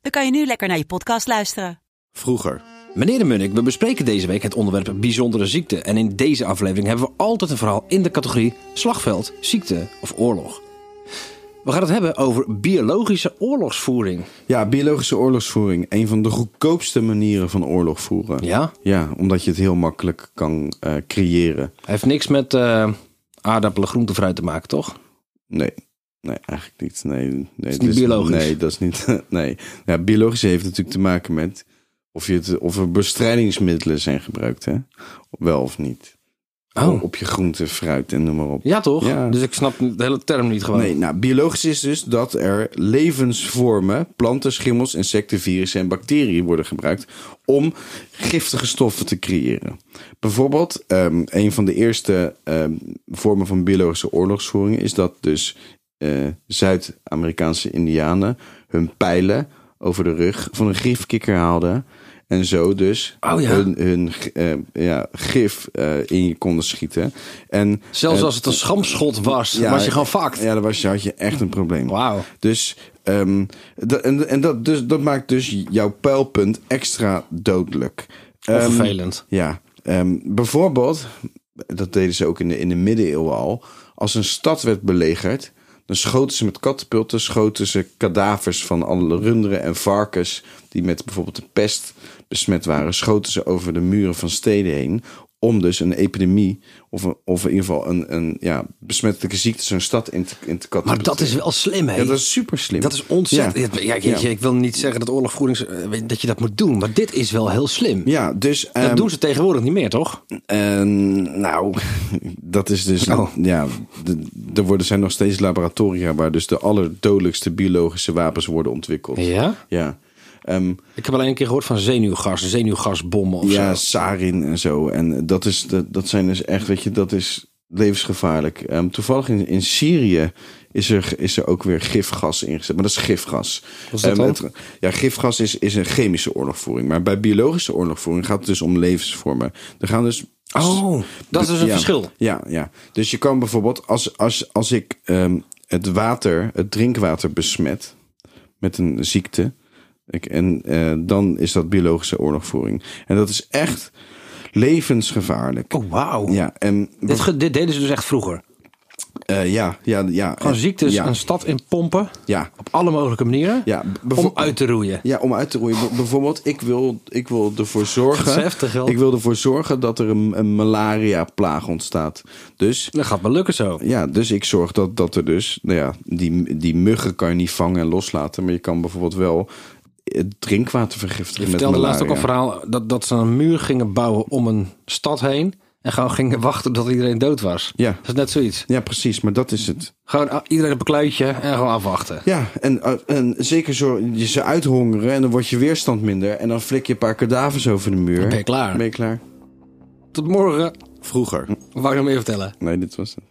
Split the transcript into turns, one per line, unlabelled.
dan kan je nu lekker naar je podcast luisteren.
Vroeger. Meneer de Munnik, we bespreken deze week het onderwerp bijzondere ziekte. En in deze aflevering hebben we altijd een verhaal in de categorie slagveld, ziekte of oorlog. We gaan het hebben over biologische oorlogsvoering.
Ja, biologische oorlogsvoering. Een van de goedkoopste manieren van oorlog voeren.
Ja?
Ja, omdat je het heel makkelijk kan eh, creëren.
Hij heeft niks met eh, aardappelen, groente, fruit te maken, toch?
Nee. Nee, eigenlijk niet. Nee, nee, het
niet biologisch.
Nee, dat is niet. Nee. Ja, biologisch heeft natuurlijk te maken met of, je het, of er bestrijdingsmiddelen zijn gebruikt, hè? Wel of niet.
Oh.
Op je groente, fruit en noem maar op.
Ja, toch?
Ja.
Dus ik snap de hele term niet gewoon.
Nee, nou, biologisch is dus dat er levensvormen, planten, schimmels, insecten, virussen en bacteriën worden gebruikt om giftige stoffen te creëren. Bijvoorbeeld, ehm, een van de eerste ehm, vormen van biologische oorlogsvoering is dat dus eh, Zuid-Amerikaanse indianen hun pijlen over de rug van een gifkikker haalden. En zo dus
Oh ja.
hun, hun eh, ja, gif eh, in je konden schieten. En,
Zelfs
eh,
als het een schamschot was,
ja, eh,
was je gewoon fucked.
ja, dan was je, had je echt een probleem.
Wauw.
Dus, ehm, dat, en, en dat, dus dat maakt dus jouw pijlpunt extra dodelijk. Ehm,
Vervelend.
ja, ehm, bijvoorbeeld, dat deden ze ook in de, in de middeleeuwen al. Als een stad werd belegerd, dan schoten ze met katapulten, schoten ze kadavers van alle runderen en varkens die met bijvoorbeeld de pest besmet waren, schoten ze over de muren van steden heen. Om dus een epidemie, of, een- of in ieder geval een, een ja, besmettelijke ziekte, zo'n stad in te, in te
Maar
katapulteren.
dat is wel slim, hè?
Ja, dat is super slim.
Dat is ontzettend. Ja.
Ja.
jeetje,
Ja.
Ik wil niet zeggen dat oorlogvoerings. eh, weet- dat je dat moet doen, maar dit is wel heel slim.
Ja, dus.
Dat
ehm,
doen ze tegenwoordig niet meer, toch?
En nou, dat is dus.
Oh.
Ja, d- er worden, zijn nog steeds laboratoria waar dus de allerdodelijkste biologische wapens worden ontwikkeld.
Ja.
Ja. Ehm,
Ik heb alleen een keer gehoord van zenuwgas, zenuwgasbommen of
ja,
zo.
sarin en zo. En dat, is, dat, dat zijn dus echt, weet je, dat is levensgevaarlijk. Ehm, toevallig in, in Syrië is er, is er ook weer gifgas ingezet. Maar dat is gifgas.
is dat
Ehm,
dan?
het- ja, gifgas is, is een chemische oorlogvoering. Maar bij biologische oorlogvoering gaat het dus om levensvormen. Er gaan dus...
Oh, dat is dus een
Ja,
verschil.
Ja, ja. Dus je kan bijvoorbeeld, als, als, als ik ehm, het water, het drinkwater besmet met een ziekte. Ik, en eh, dan is dat biologische oorlogvoering. En dat is echt levensgevaarlijk.
Oh, wauw.
Ja, en
Dit, ge- dit deden ze dus echt vroeger.
eh, ja, ja, ja.
Gewoon ziektes
ja,
een stad in pompen.
ja.
Op alle mogelijke manieren.
Ja,
om
bijvoorbeeld-
uit te roeien.
Ja, om uit te roeien. B- Bijvoorbeeld, ik wil, ik wil ervoor
Dat
zorgen.
is heftig, joh.
ik wil ervoor zorgen dat er een, een malaria plaag ontstaat. Dus
Dat gaat wel lukken zo.
Ja, dus ik zorg dat, dat er dus, nou ja, die, die muggen kan je niet vangen en loslaten. Maar je kan bijvoorbeeld wel het drinkwater vergiftigen
Je
met
vertelde laatst ook
malaria.
een verhaal dat, dat ze een muur gingen bouwen om een stad heen. En gewoon gingen wachten tot iedereen dood was.
Ja.
Dat is net zoiets.
Ja, precies, maar dat is het.
Gewoon ah, iedereen op een kluitje en gewoon afwachten.
Ja, en, eh, en zeker zo, je ze uithongeren en dan wordt je weerstand minder. En dan flik je een paar kadavers over de muur.
Dan ben je klaar.
Ben je klaar?
Tot morgen.
Vroeger.
Wou je nog meer vertellen?
Nee, dit was het.